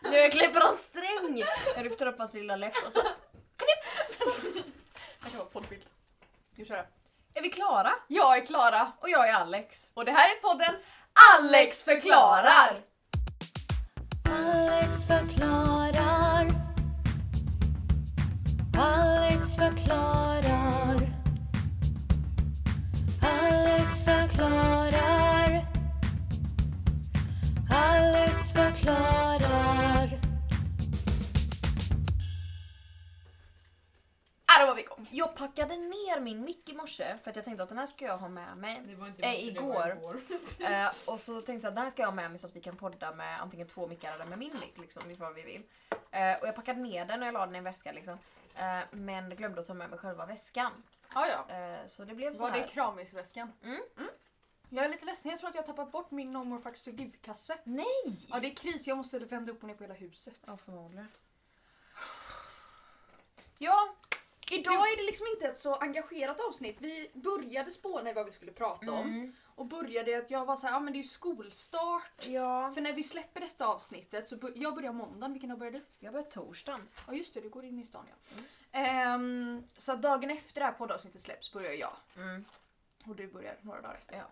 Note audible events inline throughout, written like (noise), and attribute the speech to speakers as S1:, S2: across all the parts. S1: När jag klipper en sträng! Jag lyfter upp hans lilla läpp och så...
S2: Det kan vara poddbild. Nu kör jag.
S1: Är vi klara?
S2: Jag är Klara
S1: Och jag är Alex.
S2: och det här är podden
S1: Alex förklarar! Alex förklarar. Alex förklarar. Alex förklarar. Alex förklarar.
S2: Ah, då var vi igång.
S1: Jag packade ner min mick i morse för att jag tänkte att den här ska jag ha med mig.
S3: Det var inte
S1: Eh,
S3: morse, det var
S1: igår.
S3: (laughs)
S1: Eh, och så tänkte jag att den här ska jag ha med mig så att vi kan podda med antingen två mickar eller med min mick liksom, ifall vi vill. Eh, och jag packade ner den och jag la den i en väska liksom. Eh, men glömde att ta med mig själva väskan.
S2: Ah, ja.
S1: Eh, så det blev så
S2: Var det
S1: här.
S2: kramisväskan?
S1: Mm.
S2: Jag är lite ledsen, jag tror att jag har tappat bort min No More Fucks To Give-kasse.
S1: Nej!
S2: Ja det är kris, jag måste vända upp och ner på hela huset.
S1: Ja förmodligen.
S2: Ja, idag är det liksom inte ett så engagerat avsnitt. Vi började spåna i vad vi skulle prata om.
S1: Mm.
S2: Och började i att jag var så här, ja ah, men det är ju skolstart.
S1: Ja.
S2: För när vi släpper detta avsnittet, så bör- jag börjar måndagen, vilken dag börjar du?
S1: Jag börjar torsdagen.
S2: Ja just det, du går in i stan ja. Ehm, så att dagen efter det här poddavsnittet släpps börjar jag.
S1: Mm.
S2: Och du börjar några dagar efter.
S1: Ja.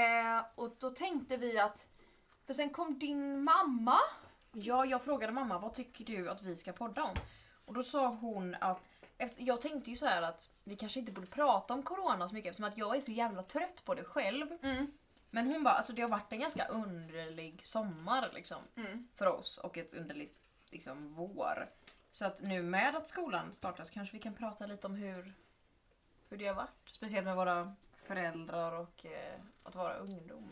S2: Eh, och då tänkte vi att, för sen kom din mamma.
S1: Ja, jag frågade mamma vad tycker du att vi ska podda om? Och då sa hon att efter, jag tänkte ju så här att vi kanske inte borde prata om corona så mycket eftersom att jag är så jävla trött på det själv.
S2: Mm,
S1: Men hon bara, alltså det har varit en ganska underlig sommar liksom
S2: Mm.
S1: för oss och ett underligt liksom vår. Så att nu med att skolan startas kanske vi kan prata lite om hur, hur det har varit. Speciellt med våra föräldrar och eh, att vara ungdom.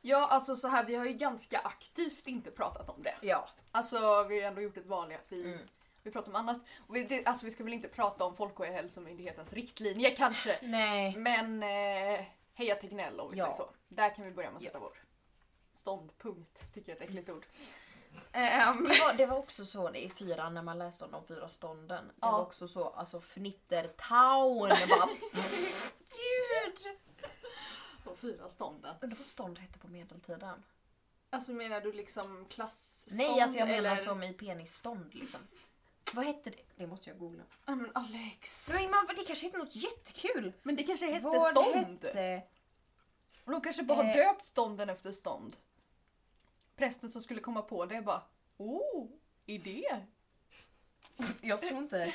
S2: Ja alltså så här, vi har ju ganska aktivt inte pratat om det.
S1: Ja.
S2: Alltså vi har ändå gjort ett vanligt att vi,
S1: Mm.
S2: vi pratar om annat. Och vi, det, alltså vi ska väl inte prata om Folkhälsomyndighetens riktlinjer kanske.
S1: Nej.
S2: Men eh, heja Tegnell om vi
S1: Ja.
S2: säger så. Där kan vi börja med att sätta vår ståndpunkt. Tycker jag är ett äckligt ord. Ehm,
S1: Det var, det var också så i fyran när man läste om de fyra stånden. Det
S2: Ja.
S1: var också så, alltså fnittertown. Jag bara, (laughs)
S2: de fyra stånden.
S1: undrar vad stånd hette på medeltiden?
S2: Alltså menar du liksom klassstånd?
S1: Nej, alltså jag menar
S2: eller-
S1: som i penisstånd liksom. Vad hette det? Det måste jag googla.
S2: Ja, men Alex.
S1: Men man, det kanske hette något jättekul.
S2: Men det kanske hette
S1: Vad
S2: stånd?
S1: hette?
S2: Och de kanske bara har
S1: Eh.
S2: döpt stånden efter stånd. Prästen som skulle komma på det bara Oh, idé!
S1: Jag tror (laughs) inte...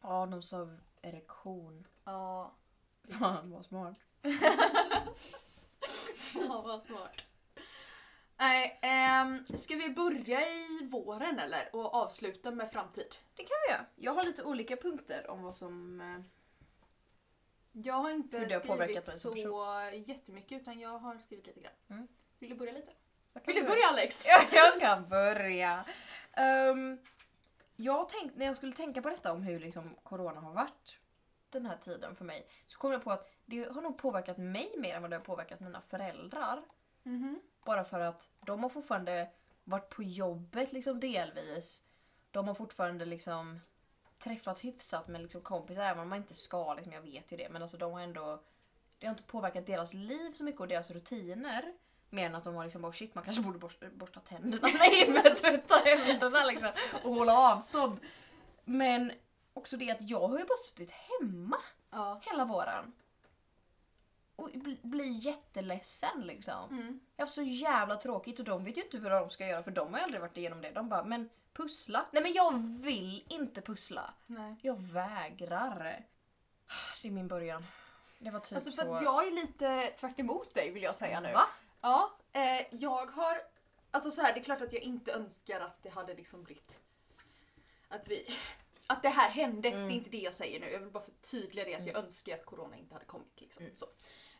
S1: Ja, de sa erektion.
S2: Ja,
S1: Fan vad smart.
S2: (laughs) fan vad smart. Nej, ehm, ska vi börja i våren eller? Och avsluta med framtid?
S1: Det kan vi göra. Jag har lite olika punkter om vad som... eh,
S2: Jag har inte
S1: Hur det har påverkat dig
S2: skrivit
S1: som
S2: så jättemycket utan jag har skrivit lite grann.
S1: Mm.
S2: Vill du börja lite?
S1: vad kan
S2: Vill du
S1: vi
S2: börja Alex?
S1: Ja, jag kan börja. Ehm, jag tänkte, när jag skulle tänka på detta om hur liksom corona har varit den här tiden för mig så kom jag på att det har nog påverkat mig mer än vad det har påverkat mina föräldrar.
S2: Mhm.
S1: Bara för att de har fortfarande varit på jobbet liksom delvis. De har fortfarande liksom träffat hyfsat med liksom kompisar även om man inte ska, liksom, jag vet ju det. Men alltså de har ändå, det har inte påverkat deras liv så mycket och deras rutiner. Mer än att de har liksom bara shit man kanske borde borsta, borsta tänderna. (laughs) Nej men tvätta händerna liksom och hålla avstånd. Men också det att jag har ju bara suttit hemma
S2: Ja.
S1: hela våren. Och bli, bli jätteledsen liksom.
S2: Mm.
S1: Jag har så jävla tråkigt och de vet ju inte vad de ska göra för de har ju aldrig varit igenom det. De bara, men pussla. Nej men jag vill inte pussla.
S2: Nej.
S1: Jag vägrar. Det är min början. Det var typ
S2: Alltså för
S1: så.
S2: att jag är lite tvärt emot dig vill jag säga nu.
S1: Va?
S2: Ja, eh, jag har... Alltså så här, det är klart att jag inte önskar att det hade liksom blivit... Att vi... Att det här hände,
S1: Mm.
S2: det är inte det jag säger nu. Jag vill bara förtydliga det att jag önskar att corona inte hade kommit. Liksom.
S1: Mm.
S2: Så.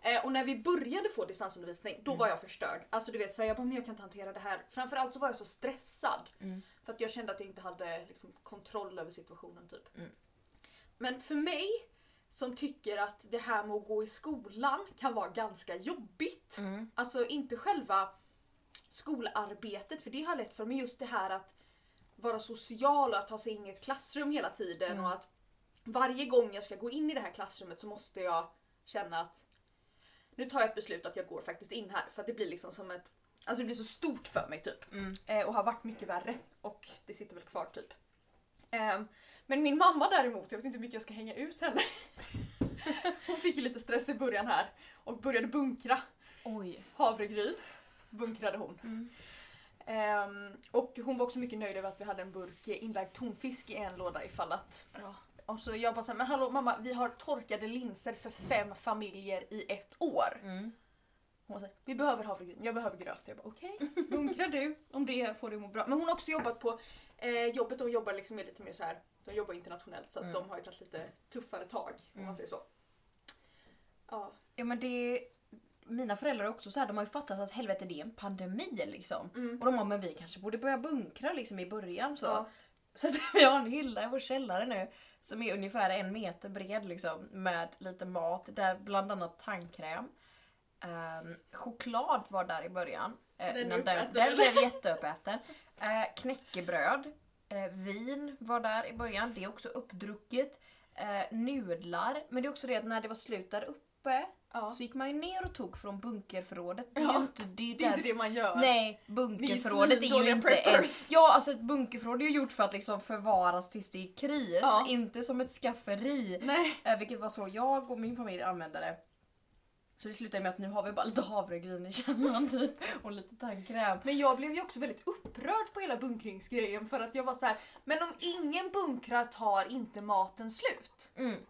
S2: Eh, och när vi började få distansundervisning, då var jag förstörd. Alltså du vet, så här, jag bara, men jag kan inte hantera det här. Framförallt så var jag så stressad.
S1: Mm.
S2: För att jag kände att jag inte hade liksom, kontroll över situationen typ.
S1: Mm.
S2: Men för mig, som tycker att det här med att gå i skolan kan vara ganska jobbigt.
S1: Mm.
S2: Alltså inte själva skolarbetet, för det har jag lätt för mig. Just det här att vara social och att ta sig in i ett klassrum hela tiden och att varje gång jag ska gå in i det här klassrummet så måste jag känna att nu tar jag ett beslut att jag går faktiskt in här för att det blir liksom som ett Alltså det blir så stort för mig typ.
S1: Mm.
S2: Eh, och har varit mycket värre. Och det sitter väl kvar typ. Ehm, men min mamma däremot, jag vet inte hur mycket jag ska hänga ut henne. (laughs) Hon fick ju lite stress i början här. Och började bunkra
S1: Oj.
S2: havregryn. Bunkrade hon.
S1: Mm.
S2: Ehm, och hon var också mycket nöjd över att vi hade en burk inlagd tonfisk i en låda ifall att...
S1: Bra.
S2: Och så jag bara såhär, men hallå mamma, vi har torkade linser för fem familjer i ett år.
S1: Mm.
S2: Hon säger, vi behöver havregryn, jag behöver gröt. Jag bara okej, bunkra du. Om det får du må bra. Men hon har också jobbat på eh, jobbet, de jobbar liksom med lite mer så här. de jobbar internationellt så att
S1: Mm.
S2: de har ju tagit lite tuffare tag om
S1: Mm.
S2: man säger så. Ja,
S1: Ja men det... Mina föräldrar är också så här, de har ju fattat att helvete det är en pandemi liksom.
S2: Mm.
S1: Och de har men vi kanske borde börja bunkra liksom i början så.
S2: Ja.
S1: Så att (laughs) vi har en hylla i vår källare nu som är ungefär en meter bred liksom med lite mat där bland annat tandkräm. Ehm, choklad var där i början. Eh,
S2: Den är
S1: innan
S2: uppäten,
S1: den
S2: eller? (laughs)
S1: blev jätteupäten. Eh, knäckebröd. Eh, vin var där i början, det är också uppdrucket. Eh, nudlar, men det är också det att när det var slut där uppe
S2: Ja.
S1: så gick man ju ner och tog från bunkerförrådet. Det är
S2: Ja,
S1: ju inte det, är
S2: det är
S1: där-
S2: inte det man gör.
S1: Nej, bunkerförrådet
S2: Ni är
S1: är ju
S2: svindåliga
S1: inte
S2: preppers.
S1: ett... Ja, alltså ett bunkerförråd är ju gjort för att liksom förvaras tills det är kris,
S2: Ja.
S1: inte som ett skafferi.
S2: Nej.
S1: Eh, Vilket var så jag och min familj använde det. Så det slutade med att nu har vi bara lite havregryn i källaren (laughs) typ och lite tandkräm.
S2: Men jag blev ju också väldigt upprörd på hela bunkringsgrejen för att jag var så här, men om ingen bunkrar tar inte maten slut.
S1: Mm.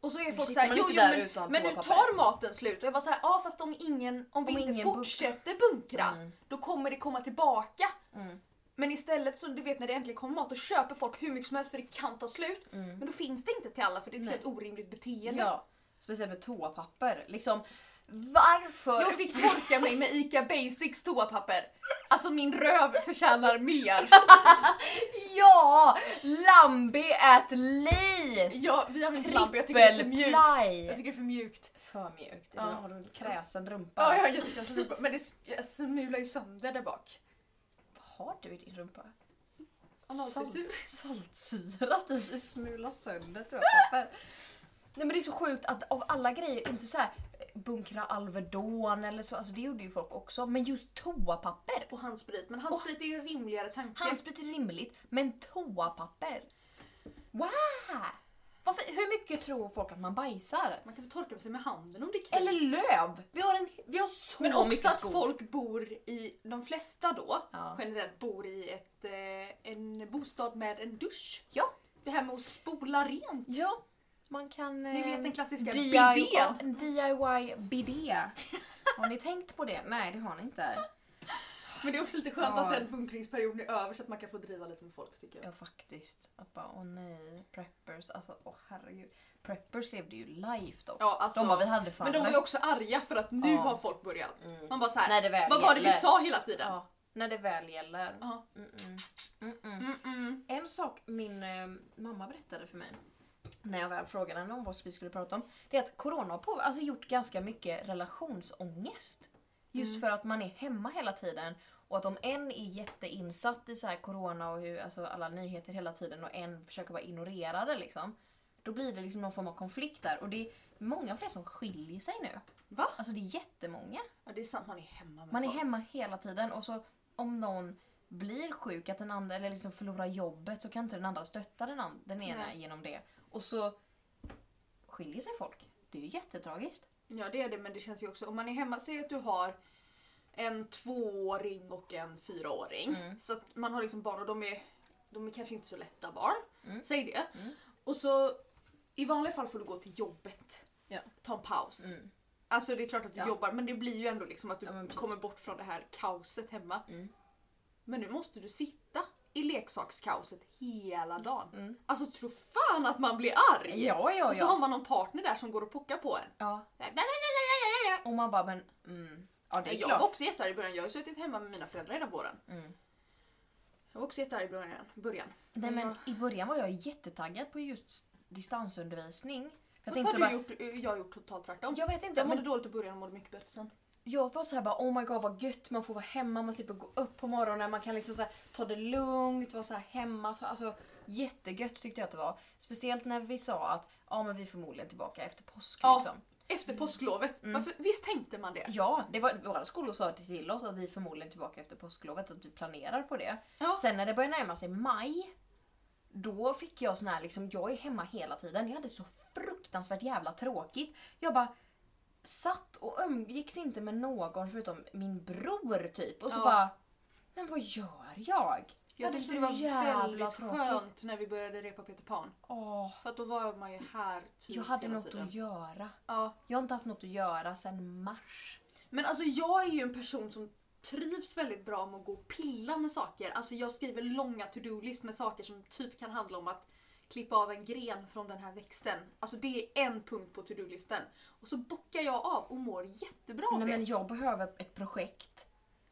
S2: Och så är
S1: Men
S2: folk
S1: sitter
S2: såhär,
S1: man
S2: jo,
S1: inte
S2: jo
S1: där
S2: men,
S1: utan
S2: men nu
S1: toapapper?"
S2: tar maten slut. Och jag var såhär, ja fast om, ingen, om vi
S1: Om
S2: inte
S1: ingen bunkrar."
S2: fortsätter bunkra
S1: Mm.
S2: då kommer det komma tillbaka.
S1: Mm.
S2: Men istället så, du vet när det äntligen kommer mat, då köper folk hur mycket som helst för det kan ta slut.
S1: Mm.
S2: Men då finns det inte till alla för det är ett
S1: Nej.
S2: helt orimligt beteende.
S1: Ja, speciellt med toapapper. Liksom, varför?
S2: Jag fick torka mig med ICA Basics toapapper. Alltså min röv förtjänar mer.
S1: Ja! Lambi at least!
S2: Ja, vi använder lampa, jag tycker det är för mjukt.
S1: Trippelply.
S2: Jag tycker det är för mjukt.
S1: För mjukt.
S2: Ja.
S1: Ja. Har du en kräsen rumpa?
S2: Ja, jag har jättekrasslig rumpa. Men det s- jag smular ju sönder där bak.
S1: Vad har du i din rumpa?
S2: Analfissur.
S1: Salt- saltsyra typ. Det smular sönder toapapper. Nej men det är så sjukt att av alla grejer, inte så här eh, bunkra Alvedon eller så, alltså det gjorde ju folk också. Men just toapapper!
S2: (laughs) Och handsprit. Men handsprit är ju en rimligare tanke.
S1: Handsprit är rimligt, men toapapper? Wow! Varför, hur mycket tror folk att man bajsar?
S2: Man kan få torka sig med handen om det krävs.
S1: Eller löv! Vi har, en, vi har så
S2: Men också
S1: mycket
S2: att
S1: skog.
S2: folk bor i, de flesta då,
S1: Ja.
S2: generellt bor i ett, eh, en bostad med en dusch.
S1: Ja.
S2: Det här med att spola rent.
S1: Ja, man kan... eh,
S2: Ni vet den klassiska
S1: DIY,
S2: bidén.
S1: En DIY bidé. Har ni tänkt på det? Nej, det har ni inte.
S2: Men det är också lite skönt
S1: Ja.
S2: att den bunkringsperioden är över så att man kan få driva lite med folk tycker jag.
S1: Ja, faktiskt. Att bara, åh nej, preppers. Alltså, åh herregud. Preppers levde ju life dock.
S2: Ja, alltså-
S1: de bara, vi hade fan...
S2: Men de var ju också arga för att nu
S1: Ja.
S2: har folk börjat.
S1: Mm.
S2: Man bara såhär,
S1: När det väl
S2: vad var det vi
S1: gäller."
S2: sa hela tiden?
S1: Ja, när det väl gäller. Mm,
S2: Ja.
S1: Mm-mm. Mm-mm.
S2: Mm-mm.
S1: En sak min eh, mamma berättade för mig när jag väl frågade henne om vad vi skulle prata om. Det är att corona har på, alltså gjort ganska mycket relationsångest. Just för att man är hemma hela tiden. Och att om en är jätteinsatt i så här corona och hur, alltså alla nyheter hela tiden och en försöker vara ignorerade liksom. Då blir det liksom någon form av konflikt där. Och det är många fler som skiljer sig nu.
S2: Va?
S1: Alltså det är jättemånga.
S2: Ja det är sant, man är hemma med
S1: Man är
S2: folk.
S1: hemma hela tiden och så om någon blir sjuk att den andra, eller liksom förlorar jobbet så kan inte den andra stötta den, and- den ena
S2: Nej.
S1: genom det. Och så skiljer sig folk. Det är ju jättetragiskt.
S2: Ja det är det men det känns ju också, om man är hemma, säg att du har en tvååring och en fyraåring.
S1: Mm.
S2: Så att man har liksom barn och de är, de är kanske inte så lätta barn.
S1: Mm.
S2: Säg det. Och så i vanliga fall får du gå till jobbet.
S1: Ja. Mm.
S2: Ta en paus. Alltså det är klart att du
S1: Ja.
S2: jobbar men det blir ju ändå liksom att du
S1: Ja, men precis. Mm.
S2: kommer bort från det här kaoset hemma. Men nu måste du sitta i leksakskaoset hela dagen. Alltså tro fan att man blir arg!
S1: Mm. Ja, ja,
S2: Och så
S1: ja.
S2: har man någon partner där som går och pockar på en.
S1: Ja. Och man bara men, mm. Ja det är
S2: jag var
S1: klart.
S2: också jättearg i början. Jag har ju suttit hemma med mina föräldrar hela våren.
S1: Mm.
S2: Jag var också jättearg i början. början.
S1: Nej men i början var jag jättetaggad på just s- distansundervisning. För jag
S2: Varför
S1: tänkte
S2: har
S1: så
S2: du
S1: bara,
S2: gjort, Eh, jag har gjort totalt tvärtom?
S1: jag vet inte,
S2: jag mådde
S1: men
S2: dåligt i början och mådde mycket bättre sen.
S1: jag var så här bara oh my god vad gött, man får vara hemma, man slipper gå upp på morgonen, man kan liksom så här, ta det lugnt, vara så här hemma. Ta, alltså, jättegött tyckte jag att det var. Speciellt när vi sa att ja, men vi är förmodligen tillbaka efter påsk.
S2: Ja.
S1: Liksom.
S2: Efter påsklovet.
S1: Mm.
S2: Varför, visst tänkte man det?
S1: Ja, det var, våra skolor sa till oss att vi förmodligen är tillbaka efter påsklovet, att vi planerar på det.
S2: Ja.
S1: Sen när det började närma sig maj, då fick jag sån här liksom, jag är hemma hela tiden. Jag hade så fruktansvärt jävla tråkigt. Jag bara satt och umgicks inte med någon förutom min bror typ. Och så
S2: Ja.
S1: bara, men vad gör jag?
S2: Jag
S1: hade
S2: tyckte
S1: så
S2: det var
S1: jävla
S2: väldigt
S1: tråkigt.
S2: skönt när vi började repa Peter Pan.
S1: Åh,
S2: För att då var man ju här typ
S1: jag hade
S2: hela
S1: något
S2: tiden.
S1: att göra.
S2: Ja.
S1: Jag har inte haft något att göra sedan mars.
S2: Men alltså jag är ju en person som trivs väldigt bra med att gå och pilla med saker. Alltså jag skriver långa to-do-list med saker som typ kan handla om att klippa av en gren från den här växten. Alltså det är en punkt på to-do-listen. Och så bockar jag av och mår jättebra av
S1: Nej,
S2: det.
S1: men jag behöver ett projekt.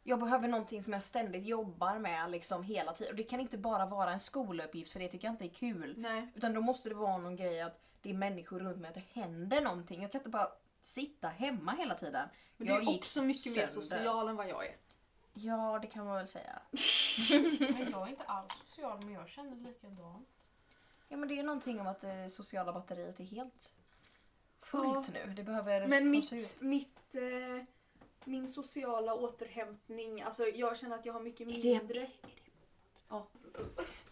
S1: Jag behöver någonting som jag ständigt jobbar med liksom hela tiden. Och det kan inte bara vara en skoluppgift för det tycker jag inte är kul.
S2: Nej.
S1: Utan då måste det vara någon grej att det är människor runt mig, att det händer någonting. Jag kan inte bara sitta hemma hela tiden.
S2: Men
S1: jag
S2: du är också mycket mer
S1: sönder.
S2: social än vad jag är.
S1: Ja, det kan man väl säga.
S3: Men jag är inte alls social men jag känner likadant.
S1: Ja, men det är någonting om att det sociala batteriet är helt fullt nu. Det behöver
S2: Men
S1: tas ut.
S2: mitt, mitt, eh, min sociala återhämtning, alltså jag känner att jag har mycket
S1: Är det-
S2: mindre...
S1: Ja,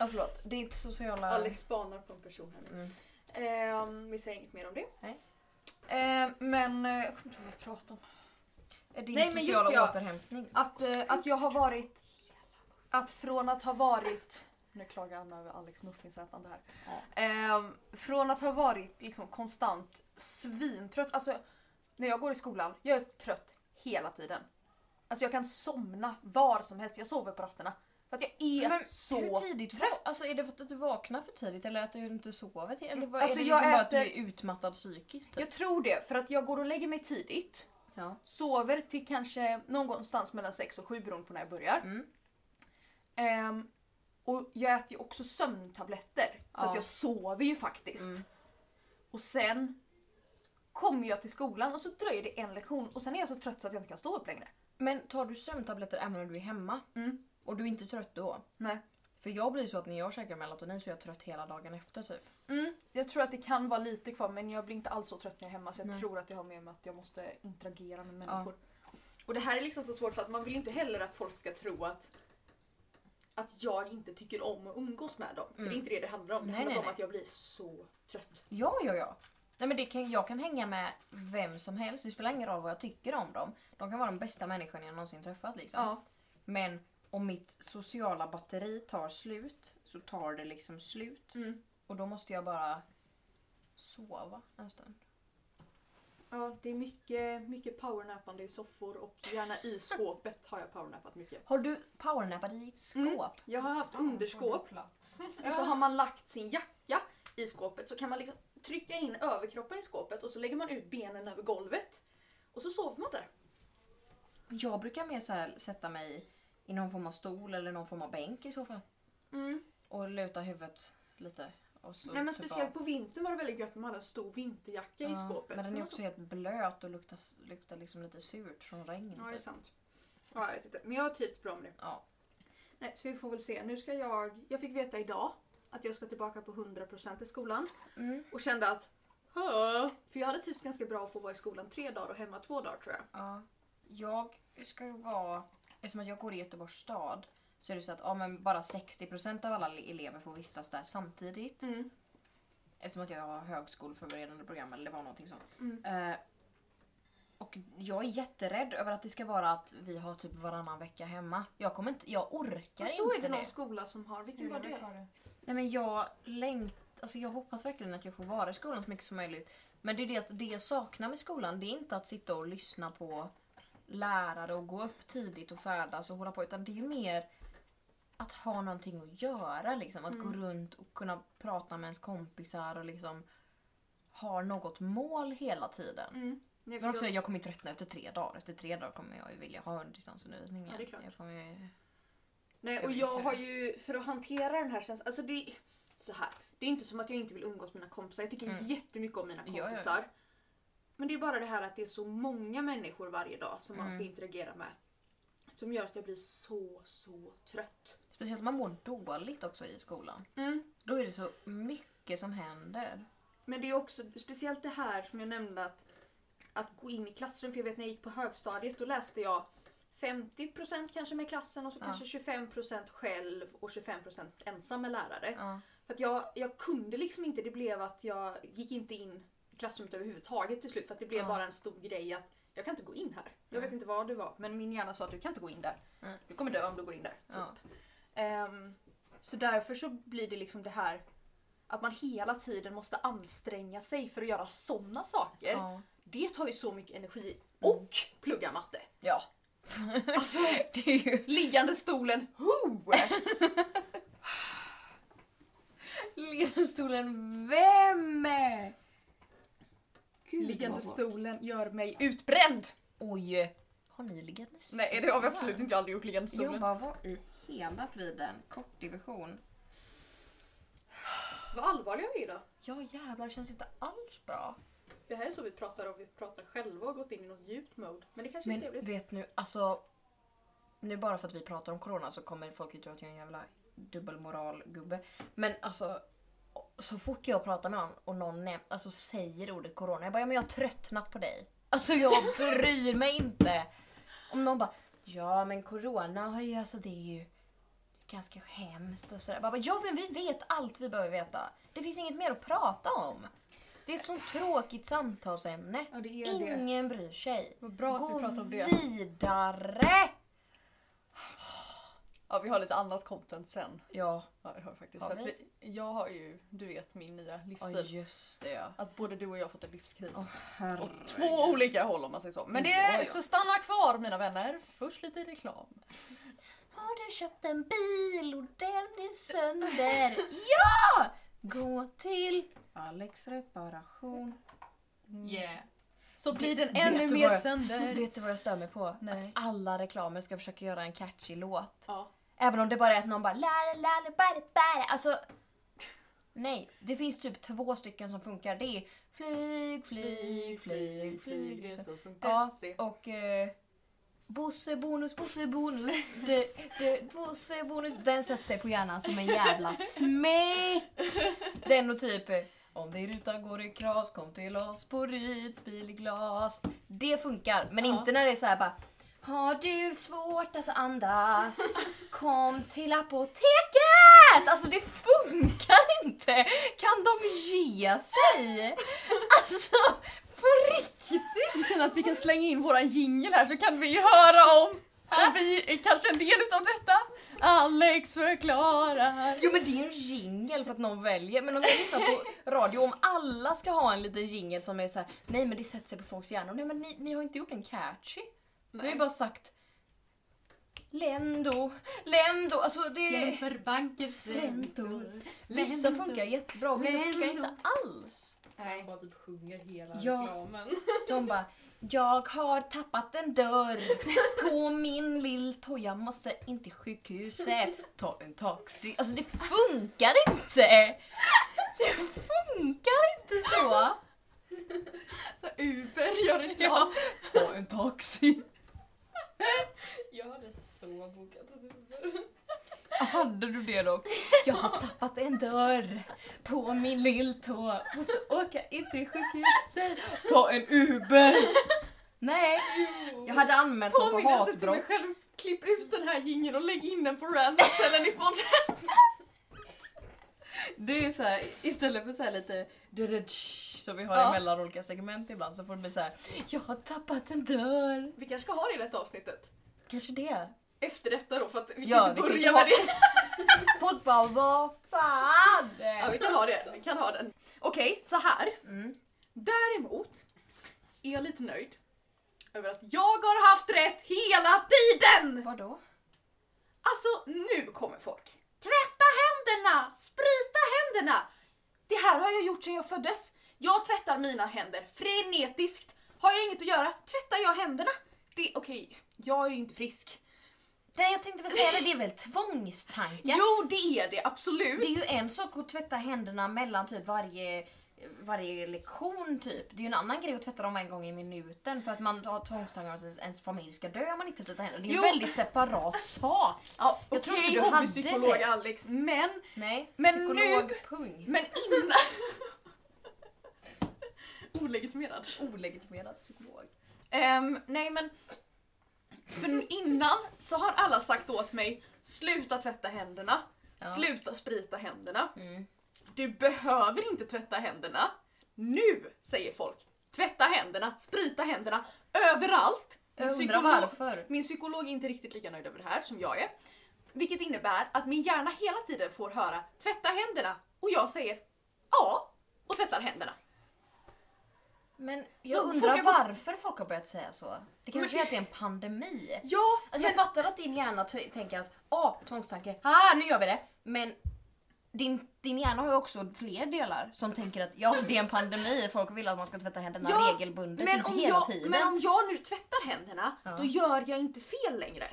S1: förlåt. Ditt sociala...
S2: Alex spanar på en person här nu.
S1: Mm.
S2: Ehm, vi säger inget mer om det.
S1: Nej.
S2: Ehm, men, eh, jag kommer inte ihåg vad jag pratade om.
S1: eh, Din
S2: Nej, men just
S1: sociala
S2: det, ja.
S1: återhämtning.
S2: Att, eh, att jag har varit, att från att ha varit, nu klagar Anna över Alex muffinsätande här. Ehm, från att ha varit liksom konstant svintrött, alltså när jag går i skolan, jag är trött hela tiden. Alltså jag kan somna var som helst, jag sover på rasterna. För att jag är
S1: Men
S2: så
S1: Hur tidigt? Trött. Alltså är det för att du vaknar för tidigt eller att du inte sover? till- Eller vad-
S2: Alltså,
S1: är det
S2: jag
S1: liksom bara att du
S2: äter-
S1: är utmattad psykiskt? Typ?
S2: Jag tror det, för att jag går och lägger mig tidigt.
S1: Ja.
S2: Sover till kanske någonstans mellan 6 och 7 beroende på när jag börjar.
S1: Mm.
S2: Ehm, och jag äter ju också sömntabletter. Så
S1: Ja.
S2: att jag sover ju faktiskt.
S1: Mm.
S2: Och sen kommer jag till skolan och så dröjer det en lektion och sen är jag så trött så att jag inte kan stå upp längre.
S1: Men tar du sömntabletter även när du är hemma?
S2: Mm.
S1: Och du är inte trött då?
S2: Nej.
S1: För jag blir så att när jag käkar melatonin så är jag trött hela dagen efter typ.
S2: Mm, jag tror att det kan vara lite kvar men jag blir inte alls så trött när jag är hemma så jag
S1: Nej.
S2: tror att det har med mig att jag måste interagera med
S1: Ja.
S2: människor. Och det här är liksom så svårt för att man vill inte heller att folk ska tro att att jag inte tycker om att umgås med dem. För det är
S1: Mm.
S2: inte det det handlar om. Det
S1: Nej,
S2: handlar
S1: nej,
S2: om
S1: nej.
S2: att jag blir så trött.
S1: Ja, ja, ja. Nej, men det kan, jag kan hänga med vem som helst. Det spelar ingen roll vad jag tycker om dem. De kan vara de bästa människorna jag någonsin träffat. Liksom. Men om mitt sociala batteri tar slut så tar det liksom slut.
S2: Mm.
S1: Och då måste jag bara sova en stund.
S2: ja, det är mycket, mycket powernappande i soffor och gärna i skåpet har jag powernappat mycket.
S1: Har du powernappat i ditt
S2: Mm.
S1: skåp?
S2: Jag har haft underskåp
S3: (laughs) Plats.
S2: Och så har man lagt sin jacka i skåpet så kan man liksom trycka in överkroppen i skåpet och så lägger man ut benen över golvet. Och så sover man där.
S1: Jag brukar mer så här sätta mig i någon form av stol eller någon form av bänk i så fall. Och luta huvudet lite. Och så
S2: Mm. Nej men
S1: typ
S2: speciellt
S1: av-
S2: på vintern var det väldigt gött när man hade en stor vinterjacka i
S1: Ja,
S2: skåpet. Mm.
S1: Men den är
S2: Man
S1: också
S2: så-
S1: helt blöt och luktar, luktar liksom lite surt från regn.
S2: Ja det är
S1: typ.
S2: sant. Ja, jag vet inte. Men jag har trivts bra med det.
S1: ja.
S2: Nej, så vi får väl se. Nu ska jag... Jag fick veta idag att jag ska tillbaka på 100% i skolan.
S1: Mm.
S2: Och kände att... "Hö." För jag hade trivts ganska bra att få vara i skolan tre dagar och hemma två dagar tror jag.
S1: ja. Jag ska ju vara... Eftersom att jag går i Göteborgs stad så är det så att ja, men bara 60% av alla le- elever får vistas där samtidigt.
S2: Mm.
S1: Eftersom att jag har högskoleförberedande program eller det var någonting sånt.
S2: Mm.
S1: Eh, och jag är jätterädd över att det ska vara att vi har typ varannan vecka hemma. Jag kommer inte, jag orkar
S2: Och så är
S1: inte
S2: det
S1: det.
S2: någon skola som har... Vilken
S3: Hur
S2: var
S3: var
S2: det?
S3: det?
S1: Nej men jag längt, alltså jag hoppas verkligen att jag får vara i skolan så mycket som möjligt. Men det är det att det jag saknar med skolan, det är inte att sitta och lyssna på lärare och gå upp tidigt och färdas och hålla på utan det är ju mer att ha någonting att göra liksom. Att
S2: Mm.
S1: gå runt och kunna prata med ens kompisar och liksom ha något mål hela tiden.
S2: Mm. Nej, för
S1: Men också,
S2: jag-
S1: jag kommer ju tröttna efter tre dagar. Efter tre dagar kommer jag ju vilja ha distansundervisning
S2: Ja, det är klart.
S1: Jag kommer ju...
S2: Nej,
S1: Jag
S2: och
S1: vet
S2: jag
S1: det.
S2: har ju, för att hantera den här känslan, alltså det, så här, det är inte som att jag inte vill umgås med mina kompisar, jag tycker
S1: Mm.
S2: jättemycket om mina
S1: Ja, ja, ja.
S2: kompisar. Men det är bara det här att det är så många människor varje dag som man ska
S1: Mm.
S2: interagera med. Som gör att jag blir så, så trött.
S1: Speciellt man mår dåligt också i skolan. Då är det så mycket som händer.
S2: Men det är också speciellt det här som jag nämnde att att gå in i klassrum. För jag vet när jag gick på högstadiet då läste jag 50% kanske med klassen och så
S1: Ja.
S2: kanske 25% själv och 25% ensam med lärare.
S1: Ja.
S2: För att jag, jag kunde liksom inte, det blev att jag gick inte in i klassrummet överhuvudtaget till slut för att det blev
S1: Ja.
S2: bara en stor grej att jag kan inte gå in här. Jag vet inte vad det var men min hjärna sa att du kan inte gå in där.
S1: Mm.
S2: Du kommer dö om du går in där. Typ.
S1: Ja.
S2: Ehm, så därför så blir det liksom det här att man hela tiden måste anstränga sig för att göra sådana saker.
S1: Ja.
S2: Det tar ju så mycket energi. Och plugga matte!
S1: (laughs) ja.
S2: Alltså,
S1: Det är ju
S2: liggande stolen, ho!
S1: ledarstolen. Vem? Gud,
S2: Liggande
S1: vad vårt.
S2: stolen gör mig utbränd!
S1: Oj. Har ni liggande stolen?
S2: Nej det har vi absolut inte, jag har aldrig gjort liggande stolen.
S1: Jag bara, vad i hela friden? Kort division.
S2: Vad allvarliga vi är idag.
S1: Ja jävlar, det känns inte alls bra.
S2: Det här är så vi pratar om, vi pratar själva och gått in i något djupt mode. Men det kanske är
S1: Men
S2: trevligt.
S1: vet nu, alltså. Nu bara för att vi pratar om corona så kommer folk ju tro att jag är en jävla dubbelmoralgubbe. Men alltså. Så fort jag pratar med någon och någon näm- alltså, säger ordet corona, jag bara ja, men jag har tröttnat på dig. Alltså jag bryr mig inte. Om någon bara ja men corona har ju alltså det är ju ganska hemskt och sådär. Jag Bara, ja men vi vet allt vi behöver veta. Det finns inget mer att prata om. Det är ett sånt tråkigt samtalsämne.
S2: Ja det är det.
S1: Ingen bryr sig.
S2: Vad bra att
S1: Gå
S2: vi pratar om det.
S1: vidare!
S2: Ja vi har lite annat content sen.
S1: Ja,
S2: Ja det har vi faktiskt.
S1: Har
S2: Så att vi? Jag har ju, du vet min nya
S1: ja
S2: livsstil.
S1: just det ja.
S2: Att både du och jag har fått en livskris.
S1: Åh, Mm,
S2: Åt två olika håll om man säger så. Men det
S1: Ja,
S2: är,
S1: ja.
S2: så stanna kvar mina vänner. Först lite reklam.
S1: Har du köpt en bil och den är sönder? ja! Gå till Alex reparation.
S3: Yeah.
S2: Så blir den
S1: Vet
S2: ännu
S1: du
S2: mer
S1: vad jag-
S2: sönder.
S1: Vet du vad jag stör mig på?
S2: Nej.
S1: Alla reklamer ska försöka göra en catchy låt.
S2: Ja.
S1: Även om det bara är att någon bara la la la la ba, da, ba, da. Alltså, nej. Det finns typ två stycken som funkar. Det är flyg, flyg, flyg, flyg. flyg. Ja, och eh, Bosse bonus, Bosse bonus, de, de, Bosse bonus. Den sätter sig på hjärnan som en jävla smäck. Den och typ eh, om din ruta går i kras, kom till oss på Ryds bilglas. Det funkar, men
S2: Ja.
S1: inte när det är så här bara har du svårt att andas? Kom till apoteket! Alltså det funkar inte! Kan de ge sig? Alltså på riktigt!
S2: Vi känner att vi kan slänga in våran jingel här så kan vi ju höra om och vi är kanske en del utav detta. Alex förklarar.
S1: Jo men det är en jingel för att någon väljer. Men om jag lyssnar på radio, om alla ska ha en liten jingel som är så här: nej men det sätter sig på folks hjärnor. Nej men ni, ni har inte gjort en catchy. Ni har ju bara sagt Lendo, Lendo, alltså det...
S3: bankers
S1: Räntor. Vissa funkar jättebra och vissa funkar
S3: Lendo.
S1: inte alls.
S3: Han bara typ sjunger hela
S1: Ja.
S3: reklamen. (laughs)
S1: De bara jag har tappat en dörr på min lill tå. Jag måste in till sjukhuset. Ta en taxi. Alltså det funkar inte! Det funkar inte så!
S2: Uber gör det
S1: Ja, ta en taxi.
S3: Jag hade så bokat
S1: Hade du det dock? Jag har tappat en dörr på min lilltå. Måste åka in till sjukhuset. Ta en Uber. Nej, jag hade anmält dem för
S2: Påminnelse till mig
S1: hatbrott.
S2: själv. Klipp ut den här jingeln och lägg in den på random ställen i podden.
S1: Det är så här, istället för så här lite som vi har
S2: Ja.
S1: mellan olika segment ibland så får det bli så här. Jag har tappat en dörr.
S2: Vi kanske ska ha det i detta avsnittet.
S1: Kanske det.
S2: Efter detta då för att vi
S1: Ja,
S2: kan inte
S1: vi kan
S2: börja
S1: inte
S2: med
S1: ha-
S2: det.
S1: Folk bara vad fan.
S2: Ja vi kan ha det, vi kan ha den. Okej, så här.
S1: Mm.
S2: Däremot är jag lite nöjd över att jag har haft rätt hela tiden!
S1: Vadå?
S2: Alltså nu kommer folk. Tvätta händerna! Sprita händerna! Det här har jag gjort sedan jag föddes. Jag tvättar mina händer frenetiskt. Har jag inget att göra tvättar jag händerna. Det, okej, jag är ju inte frisk.
S1: Nej jag tänkte väl säga det, det är väl tvångstanken?
S2: Jo det är det absolut.
S1: Det är ju en sak att tvätta händerna mellan typ varje, varje lektion typ. Det är ju en annan grej att tvätta dem en gång i minuten för att man har tvångstankar att ens familj ska dö om man inte tvättar händerna. Det är ju
S2: Jo.
S1: en väldigt separat sak. (laughs)
S2: ja,
S1: jag tror
S2: okej,
S1: inte du hade
S2: hobbypsykolog
S1: rätt.
S2: Alex men,
S1: Nej,
S2: Men
S1: psykolog, punkt.
S2: men innan... Olegitimerad.
S1: Olegitimerad psykolog.
S2: Ehm, nej men. För innan så har alla sagt åt mig sluta tvätta händerna,
S1: Ja.
S2: sluta sprita händerna.
S1: Mm.
S2: Du behöver inte tvätta händerna. Nu säger folk. Tvätta händerna, sprita händerna, överallt. Min
S1: Jag undrar
S2: psykolog-
S1: varför.
S2: Min psykolog är inte riktigt lika nöjd över det här som jag är. Vilket innebär att min hjärna hela tiden får höra tvätta händerna och jag säger ja och tvättar händerna.
S1: Men jag
S2: Så folk
S1: undrar
S2: har gått-
S1: varför folk har börjat säga så. Det kanske är att det är en pandemi.
S2: Ja,
S1: Alltså jag fattar att din hjärna t- tänker att ah, tvångstanke, ah, nu gör vi det. Men din, din hjärna har ju också fler delar som tänker att ja, det är en pandemi, folk vill att man ska tvätta händerna
S2: Ja,
S1: regelbundet,
S2: men,
S1: inte
S2: om
S1: hela
S2: jag,
S1: tiden.
S2: men om jag nu tvättar händerna,
S1: Ja.
S2: då gör jag inte fel längre.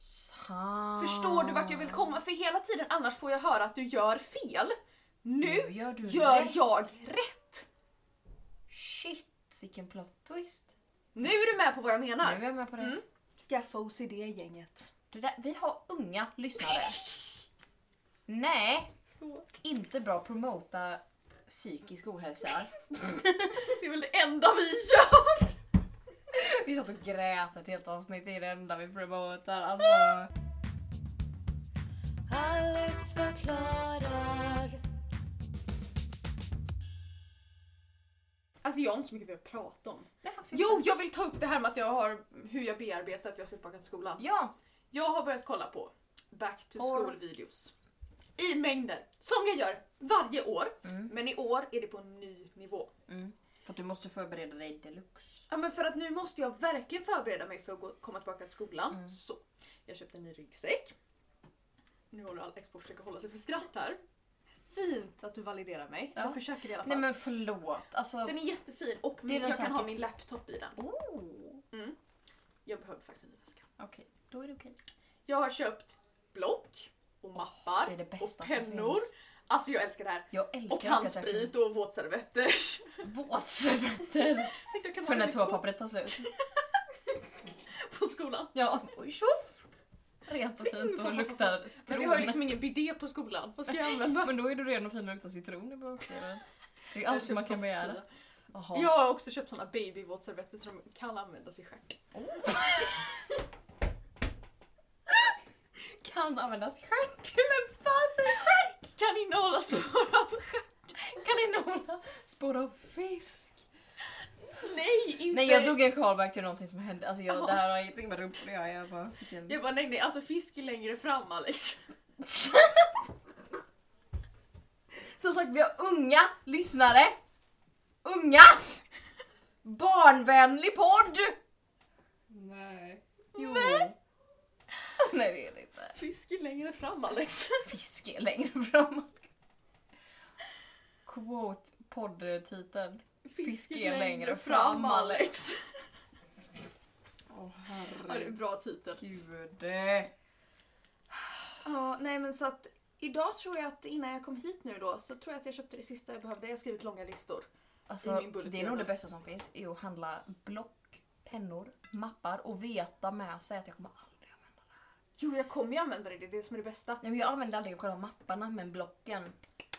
S1: Sant.
S2: Förstår du vart jag vill komma? För hela tiden annars får jag höra att du gör fel. Nu
S1: Nu gör du
S2: gör
S1: rätt.
S2: jag rätt!
S1: Shit, vilken plot twist.
S2: Nu är du med på vad jag menar.
S1: Nu är jag med på det.
S2: Mm. Skaffa OCD-gänget.
S1: det där, vi har unga lyssnare. Nej, inte bra att promota psykisk ohälsa.
S2: (laughs) Det är väl det enda vi gör!
S1: Vi satt och grät ett helt avsnitt i det enda vi promotar. Alltså.
S2: Alex förklarar. Alltså jag har inte så mycket mer att prata om.
S1: Nej, faktiskt
S2: Jo, jag vill ta upp det här med att jag har, hur jag bearbetar att jag ska tillbaka till skolan.
S1: Ja,
S2: Jag har börjat kolla på back to
S1: Or-
S2: school videos. I mängder. Som jag gör varje år.
S1: Mm.
S2: Men i år är det på en ny nivå.
S1: för att du måste förbereda dig deluxe.
S2: Ja, men för att nu måste jag verkligen förbereda mig för att gå, komma tillbaka till skolan.
S1: Mm.
S2: Så, jag köpte en ny ryggsäck. Nu håller Alex på att försöka hålla sig för skratt här. Fint att du validerar mig.
S1: Ja.
S2: Jag försöker i alla fall.
S1: Nej men förlåt. Alltså,
S2: Den är jättefin och
S1: Det är den
S2: jag kan ha
S1: säkert.
S2: min laptop i den.
S1: oh.
S2: Jag behöver faktiskt en ny väska.
S1: Okej, då är det okej.
S2: Jag har köpt block och mappar
S1: det är det
S2: och
S1: bästa som
S2: pennor.
S1: finns.
S2: Alltså jag älskar det här.
S1: Jag
S2: Och
S1: älskar
S2: handsprit och våtservetter. (laughs)
S1: (laughs) Våtservetter.
S2: Tänkte jag kan
S1: För
S2: ha det
S1: när
S2: liksom
S1: toapappret tar slut.
S2: på skolan.
S1: Ja, oj tjoff. Rent och fint och luktar
S2: Men vi
S1: citron.
S2: har ju liksom ingen bidé på skolan. Vad ska jag använda?
S1: Men då är du ren och fin och luktar citron i bakgrunden. Det är ju allt man kan begära. Jaha.
S2: Jag har också köpt såna babyvåtservetter som de kan användas i stjärt.
S1: Kan användas i stjärt. Men fan säger stjärt?
S2: Kan innehålla spår av stjärt.
S1: Kan innehålla spår av fisk.
S2: Nej, inte...
S1: Nej jag drog en callback till någonting som hände. Alltså jag,
S2: Jaha.
S1: det här har ingenting med rumpor att göra. Jag bara fick en...
S2: Jag bara nej nej, alltså fisk är längre fram Alex.
S1: Som sagt vi har unga lyssnare. Unga! Barnvänlig podd!
S3: Nej.
S1: Jo. Nej. Nej det är det inte.
S2: Fisk är längre fram Alex.
S1: Fisk är längre fram. Quote poddtiteln. Fisk är längre fram, Alex. Åh
S2: Ja, det är en bra titel.
S1: Gud.
S2: Ja, nej men så att idag tror jag att innan jag kom hit nu då så tror jag att jag köpte det sista jag behövde. Jag har skrivit långa listor. I
S1: Alltså,
S2: min bullet
S1: det är nog det
S2: journal.
S1: bästa som finns, är att handla block, pennor, mappar och veta med sig att jag kommer aldrig använda det.
S2: Jo, jag kommer ju använda det. Det är det som är det bästa.
S1: Nej, men jag använder aldrig själva mapparna men blocken,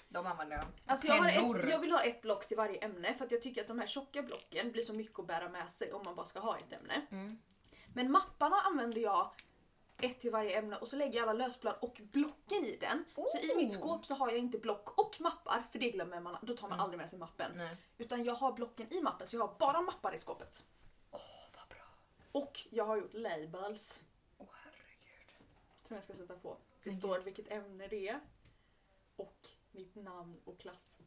S1: de använder jag.
S2: Alltså jag, har
S1: pennor!
S2: ett, jag vill ha ett block till varje ämne för att jag tycker att de här tjocka blocken blir så mycket att bära med sig om man bara ska ha ett ämne.
S1: Mm.
S2: Men mapparna använder jag ett till varje ämne och så lägger jag alla lösblad och blocken i den. Så i mitt
S1: Oh.
S2: skåp så har jag inte block och mappar för det glömmer man, då tar man
S1: Mm.
S2: aldrig med sig mappen.
S1: Nej.
S2: Utan jag har blocken i mappen så jag har bara mappar i skåpet.
S1: Åh vad bra.
S2: Och jag har gjort labels
S1: Åh herregud.
S2: som jag ska sätta på. Det
S1: Men
S2: står vilket ämne det är och mitt namn
S1: (laughs)
S2: och klass.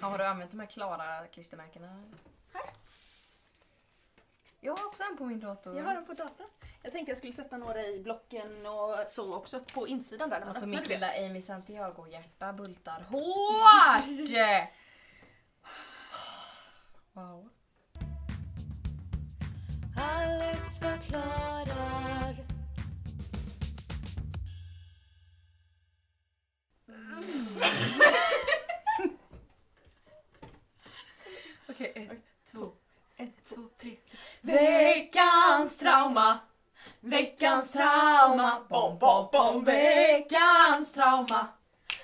S1: Ja, har du använt de här klara klistermärkena?
S2: Här.
S1: Jag har också en på min dator.
S2: Jag har den på datorn. Jag tänkte jag skulle sätta några i blocken och så också på insidan där när man
S1: Alltså
S2: öppnar
S1: mitt
S2: du vet.
S1: lilla Amy Santiago-hjärta bultar (laughs) hårt! wow.
S2: Alex förklarar.
S1: Okej, ett, två, ett, två, tre.
S2: Veckans trauma. Veckans trauma. Bom, bom, bom. Veckans trauma.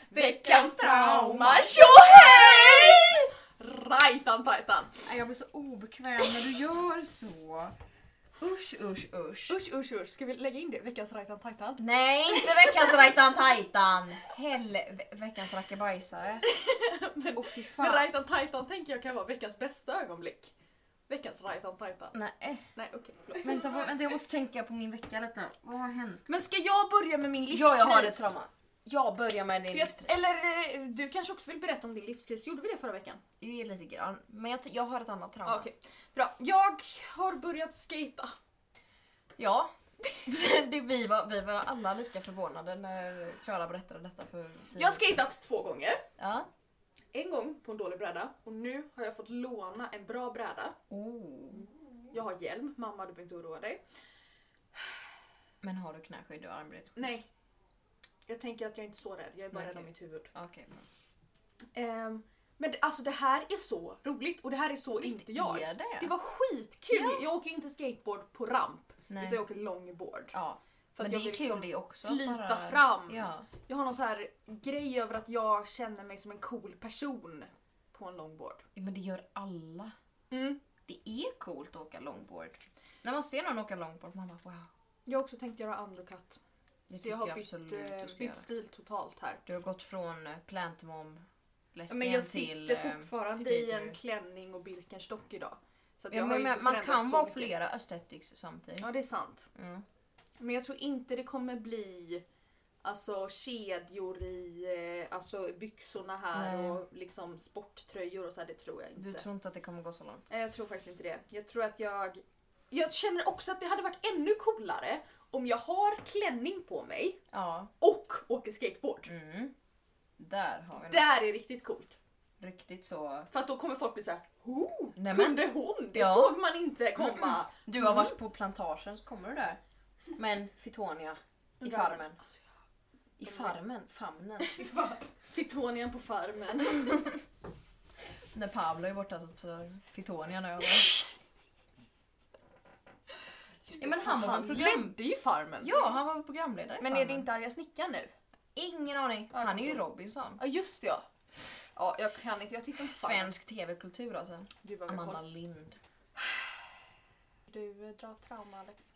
S2: Veckans trauma. Tjohej! Tajtan, tajtan.
S1: Nej, Jag blir så obekväm när du gör så. Usch, usch, usch.
S2: Usch, usch, usch. Ska vi lägga in det? Veckans tajtan, tajtan.
S1: Nej, inte veckans rajtan tajtan! Helve... Veckans rackabajsare.
S2: Men-
S1: Åh fy fan.
S2: Men Rajtan Titan tänker jag kan vara veckans bästa ögonblick. Veckans Rajtan Titan.
S1: Nej,
S2: Nej okej, förlåt.
S1: vänta, vad- vänta jag måste tänka på min vecka lite. Vad har hänt?
S2: Men ska jag börja med min livskris?
S1: Ja, jag har ett trauma. Jag börjar med din
S2: För jag,
S1: livstid.
S2: eller eh, du kanske också vill berätta om din livskris? Gjorde vi det förra veckan?
S1: Jo, lite grann. Men jag, t- jag har ett annat trauma.
S2: Ja. Ah, Okej, bra. Jag har börjat skata.
S1: Ja. (laughs) det, vi, var, vi var alla lika förvånade när Klara berättade detta för tio
S2: Jag har skatat två gånger.
S1: Ja.
S2: En gång på en dålig bräda och nu har jag fått låna en bra bräda.
S1: Oh.
S2: Jag har hjälm. Mamma du behöver inte oroa dig.
S1: Men har du knäskydd och armbryt?
S2: Nej. Jag tänker att jag är inte så rädd. Jag är bara
S1: Nej,
S2: rädd om
S1: okej.
S2: mitt huvud.
S1: Okej.
S2: Ehm, men det- alltså det här är så roligt och det här är så
S1: Visst
S2: inte jag.
S1: är det?
S2: Det var skitkul!
S1: Ja.
S2: Jag åker inte skateboard på ramp
S1: Nej.
S2: utan jag åker långboard.
S1: Ja.
S2: För att
S1: men
S2: jag
S1: det är
S2: vill
S1: kul
S2: liksom
S1: det också. att
S2: flyta
S1: bara-
S2: fram.
S1: Ja.
S2: Jag har någon så här grej över att jag känner mig som en cool person på en långboard.
S1: Men det gör alla.
S2: Mm.
S1: Det är coolt att åka långbord. När man ser någon åka långbord, man bara wow.
S2: Jag har också tänkt göra undercut.
S1: Det
S2: Så
S1: tycker
S2: jag har bytt,
S1: absolut du
S2: eh,
S1: ska
S2: bytt
S1: göra.
S2: stil totalt här.
S1: Du har gått från eh, plantmom
S2: Ja,
S1: lesbian
S2: Men jag
S1: till...
S2: sitter
S1: eh,
S2: fortfarande i
S1: skater.
S2: en klänning och Birkenstock idag. Så att
S1: Ja,
S2: jag har
S1: men,
S2: ju inte
S1: men, man
S2: förändrats
S1: kan
S2: så
S1: vara
S2: mycket.
S1: flera aesthetics samtidigt.
S2: Ja det är sant.
S1: Mm.
S2: Men jag tror inte det kommer bli alltså, kedjor i eh, alltså, byxorna här
S1: Nej.
S2: och liksom sporttröjor och så här, det tror jag inte.
S1: Du tror inte att det kommer gå så långt?
S2: Eh, Jag tror faktiskt inte det. Jag tror att jag... Jag känner också att det hade varit ännu coolare om jag har klänning på mig
S1: Ja.
S2: och åker skateboard.
S1: Mm. Där har vi något.
S2: Där är riktigt coolt.
S1: Riktigt så...
S2: För att då kommer folk bli såhär oh,
S1: Nej, men-
S2: Kunde hon? Det
S1: Ja. Mm,
S2: såg man inte komma.
S1: Du har varit på plantagen, så kommer du där. Men Fittonia. I
S2: Där.
S1: farmen.
S2: Alltså, jag-
S1: I farmen? Famnen?
S2: Fittonian på (laughs) farmen.
S1: (laughs) När Pablo är borta så tar Fittonia när jag var. Ja, men han var
S2: han
S1: väl program-
S2: ledde ju farmen.
S1: Ja, han var programledare i
S2: Men är det
S1: Farmen.
S2: inte arga snickaren nu?
S1: Ingen aning.
S2: Ja,
S1: Han är ju
S2: cool.
S1: Robinson.
S2: Ja just det, ja. Ja jag kan inte, jag tittar inte på Farmen.
S1: Svensk tv-kultur alltså.
S2: Gud vad vi har
S1: Amanda
S2: koll.
S1: Lind.
S2: Du eh, drar trauma Alex.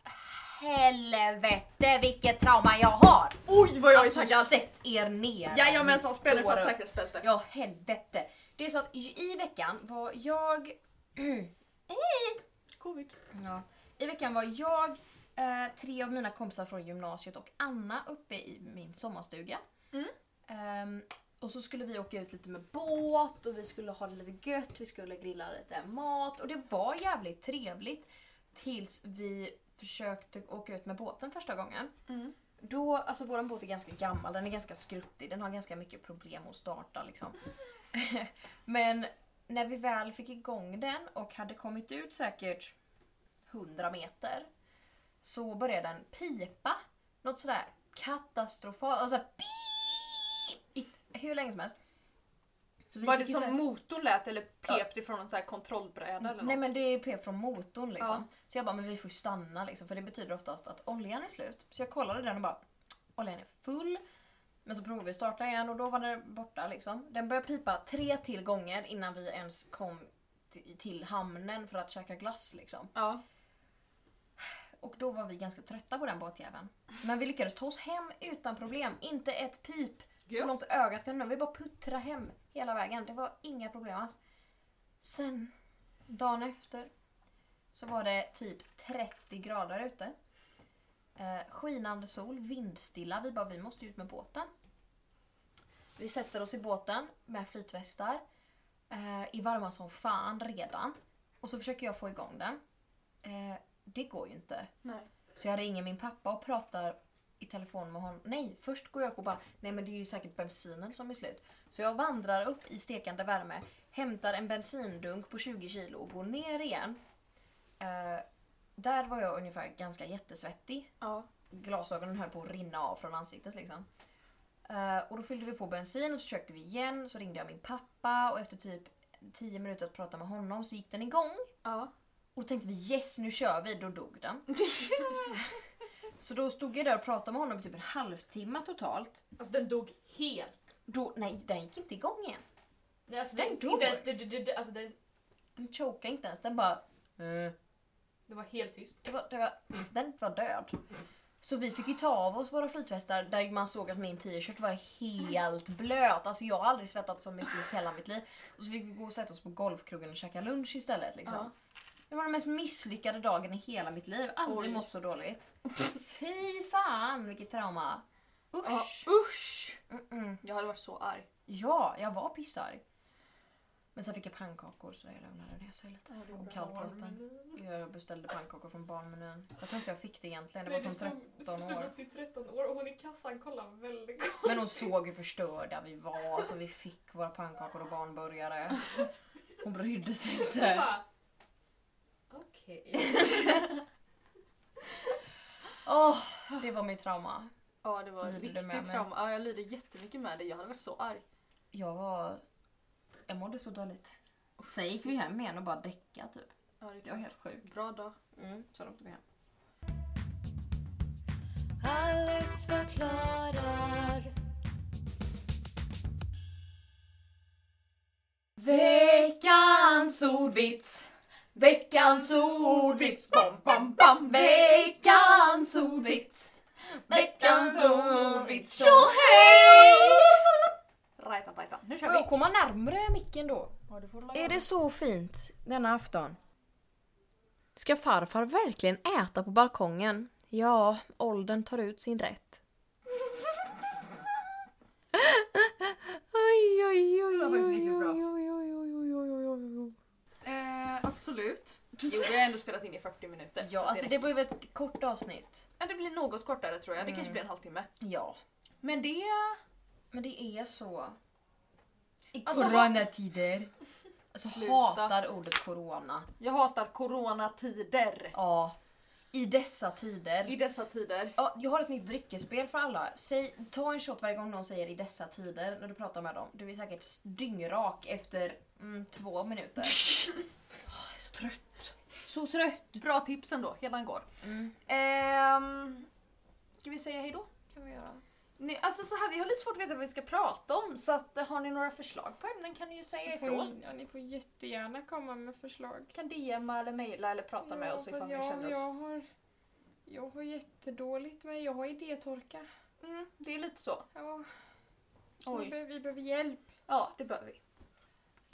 S1: Helvete vilket trauma jag har!
S2: Oj vad jag är
S1: Alltså
S2: taggad!
S1: sätt er ner!
S2: Jajamensan,
S1: Ni
S2: spänner fast
S1: står upp.
S2: säkerhetsbälte.
S1: Ja, helvete. Det är så att i i veckan var jag... (clears throat) Eh!
S2: Covid.
S1: Ja. I veckan var jag, eh, tre av mina kompisar från gymnasiet och Anna uppe i min sommarstuga.
S2: Mm.
S1: Ehm, och så skulle vi åka ut lite med båt och vi skulle ha det lite gött, vi skulle grilla lite mat och det var jävligt trevligt tills vi försökte åka ut med båten första gången.
S2: Mm.
S1: Då, alltså vår båt är ganska gammal, den är ganska skruttig, den har ganska mycket problem att starta liksom. (laughs) Men när vi väl fick igång den och hade kommit ut säkert 100 meter så började den pipa något sådär katastrofalt, alltså pii, i, hur länge som helst. Så vi
S2: Var det
S1: fick ju
S2: som
S1: såhär-
S2: motorn lät eller pep det från någon sån här kontrollbräda eller
S1: Nej
S2: något?
S1: men det är pep från motorn liksom.
S2: Ja.
S1: Så jag bara, men vi får ju stanna liksom. För det betyder oftast att oljan är slut. Så jag kollade den och bara, oljan är full. Men så provade vi att starta igen och då var den borta liksom. Den började pipa tre till gånger innan vi ens kom ti- till hamnen för att käka glass liksom.
S2: Ja.
S1: Och då var vi ganska trötta på den båtjäveln. Men vi lyckades ta oss hem utan problem. Inte ett pip.
S2: Gött.
S1: Så långt ögat kunde nå. Vi bara puttrade hem hela vägen. Det var inga problem alls. Sen, dagen efter, så var det typ 30 grader ute. Eh, skinande sol, vindstilla. Vi bara, vi måste ut med båten. Vi sätter oss i båten med flytvästar. Eh, är varma som fan redan. Och så försöker jag få igång den. Eh, det går ju inte.
S2: Nej.
S1: Så jag ringer min pappa och pratar i telefon med honom. Nej, först går jag upp och bara, nej men det är ju säkert bensinen som är slut. Så jag vandrar upp i stekande värme, hämtar en bensindunk på 20 kilo och går ner igen. Eh, där var jag ungefär ganska jättesvettig.
S2: Ja.
S1: Glasögonen höll på att rinna av från ansiktet liksom. Eh, och då fyllde vi på bensin och så försökte vi igen. Så ringde jag min pappa och efter typ 10 minuter att prata med honom så gick den igång.
S2: Ja.
S1: Och då tänkte vi yes, nu kör vi. Då dog den. så då stod jag där och pratade med honom i typ en halvtimme totalt.
S3: Alltså den dog helt.
S1: Då, nej, den gick inte igång igen.
S3: Nej, Alltså,
S1: Den
S3: det,
S1: går.
S3: inte ens, det, det, det, det- alltså, det,
S1: Den chokade inte ens, den bara... eh.
S3: det var helt tyst.
S1: Det var, det var, den var död. Så vi fick ju ta av oss våra flytvästar där man såg att min t-shirt var helt blöt. Alltså jag har aldrig svettat så mycket i hela mitt liv. Och så fick vi gå och sätta oss på golfkrogen och käka lunch istället. Liksom.
S2: Ja.
S1: Det var den mest misslyckade dagen i hela mitt liv. Aldrig
S2: Oj.
S1: mått så dåligt. Fy fan vilket trauma.
S2: Ja,
S1: Usch.
S2: usch!
S1: Mm-mm.
S2: Jag hade varit så arg.
S1: Ja, jag var pissarg. Men sen fick jag pannkakor så jag lämnade ner sig lite. Och kallt vatten. Jag beställde pannkakor från barnmenyn. Jag tror inte jag fick det egentligen. Det var
S3: Nej, du
S1: från 13
S3: stod, du stod
S1: år.
S3: upp till 13 år och hon i kassan kollade väldigt
S1: Men hon
S3: konstigt.
S1: såg hur förstörda vi var, så vi fick våra pannkakor och barnburgare. Hon brydde sig
S3: Hon
S1: inte.
S3: bara, Okej.
S1: Åh, det var mitt trauma.
S2: Ja det var
S1: Lider du med
S2: riktigt
S1: mig?
S2: trauma. Ja, jag lider jättemycket med det. Jag hade varit så arg.
S1: Jag var... Jag mådde så dåligt. Sen gick vi hem igen och bara däckade typ.
S2: Ja, det
S1: Det var helt sjukt.
S2: Bra dag.
S1: Mm, sen åkte vi hem.
S4: Alex förklarar.
S1: Veckans ordvits!
S2: Veckans ordvits! Bam, bam, bam!
S1: Veckans ordvits! Veckans ordvits!
S2: Rajta, rajta. Nu
S1: Får
S2: kör vi!
S1: jag komma närmre micken då?
S2: Ja, du får lägga
S1: Är det så fint denna afton? Ska farfar verkligen äta på balkongen? Ja, åldern tar ut sin rätt. Oj, oj, oj,
S2: var faktiskt
S1: oj,
S2: riktigt bra.
S1: oj, oj, oj, oj, oj, oj, oj, oj.
S2: Eh, absolut. Jo, vi har ändå spelat in i 40 minuter.
S1: Ja,
S2: så
S1: alltså
S2: det,
S1: det blev ett kort avsnitt.
S2: räcker. Ja, det blir något kortare tror jag. Det kanske
S1: Mm.
S2: blir en halvtimme.
S1: Ja,
S2: Men det...
S1: men det är så. I
S2: Alltså,
S1: coronatider. Alltså
S2: Sluta.
S1: hatar ordet corona.
S2: Jag hatar coronatider.
S1: Ja. I dessa tider.
S2: I dessa tider.
S1: Ja, jag har ett nytt dryckesspel för alla. Säg, ta en shot varje gång någon säger i dessa tider när du pratar med dem. Du är säkert dyngrak efter mm, två (laughs) minuter. Åh, Ah, jag är så trött. Så trött.
S2: Bra tips ändå. Hela går.
S1: Mm.
S2: Ehm, ska vi säga hejdå?
S1: kan vi göra.
S2: Nej, alltså så här, vi har lite svårt att veta vad vi ska prata om så att, eh, har ni några förslag på ämnen kan ni ju säga ifrån.
S3: Ni, ja, ni får jättegärna komma med förslag.
S2: kan DMa eller mejla eller prata med oss ifall
S3: jag,
S2: ni känner oss.
S3: jag har, jag har jättedåligt med, jag har idétorka.
S2: Mm, det är lite så.
S3: Ja, så vi,
S2: Oj.
S3: be, vi behöver hjälp.
S2: Ja, det behöver vi.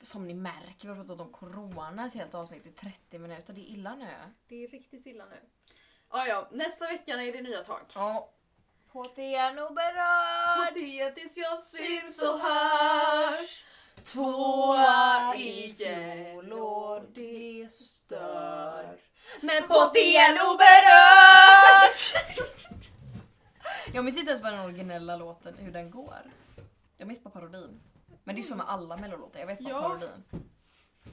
S1: Som ni märker, vi har pratat om corona ett helt avsnitt i 30 minuter. Det är illa nu.
S2: Det är riktigt illa nu. Ja, ja, nästa vecka är det nya tag.
S1: Ja. På DN och berörd.
S2: det tills jag syns och hörs.
S1: Tvåa i fjol och det stör.
S2: Men på DN oberörd!
S1: Jag minns inte ens vad den originella låten, hur den går. Jag minns bara parodin. Men det är så med alla mellolåtar, jag vet bara
S2: Ja.
S1: parodin.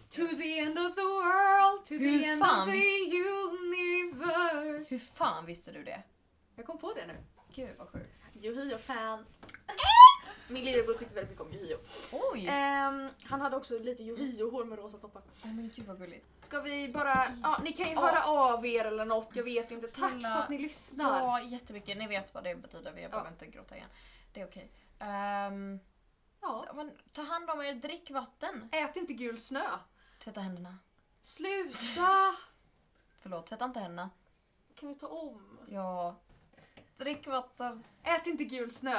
S2: To the end of the world, to
S1: Hur
S2: the end
S1: fan
S2: of the
S1: Hur
S2: universe.
S1: fan visste du det?
S2: Jag kom på det nu.
S1: Gud vad sjukt.
S2: Yohio-fan. Min lillebror tyckte väldigt mycket om Yohio.
S1: Oj!
S2: Ehm, han hade också lite Yohio-hår med rosa toppar.
S1: Åh, men gud vad gulligt.
S2: Ska vi bara... Ja, ni kan ju
S1: Ja.
S2: höra av er eller något, jag vet inte. Tack
S1: Snälla.
S2: för att ni lyssnar.
S1: Ja, jättemycket. Ni vet vad det betyder, vi behöver inte gråta igen. Det är okej. Ehm,
S2: Ja.
S1: ja, men ta hand om er, drick vatten.
S2: Ät inte gul snö.
S1: Tvätta händerna.
S2: Sluta!
S1: Förlåt, tvätta inte händerna.
S2: Kan vi ta om?
S1: Ja. Drick vatten.
S2: Ät inte gul snö.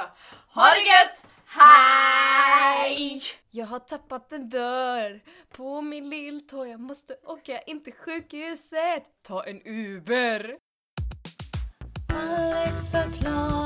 S1: Ha det gött! Hej!
S4: Jag har tappat en dörr på min lilltå. Jag måste åka in till sjukhuset. Ta en Uber. Alex förklarar.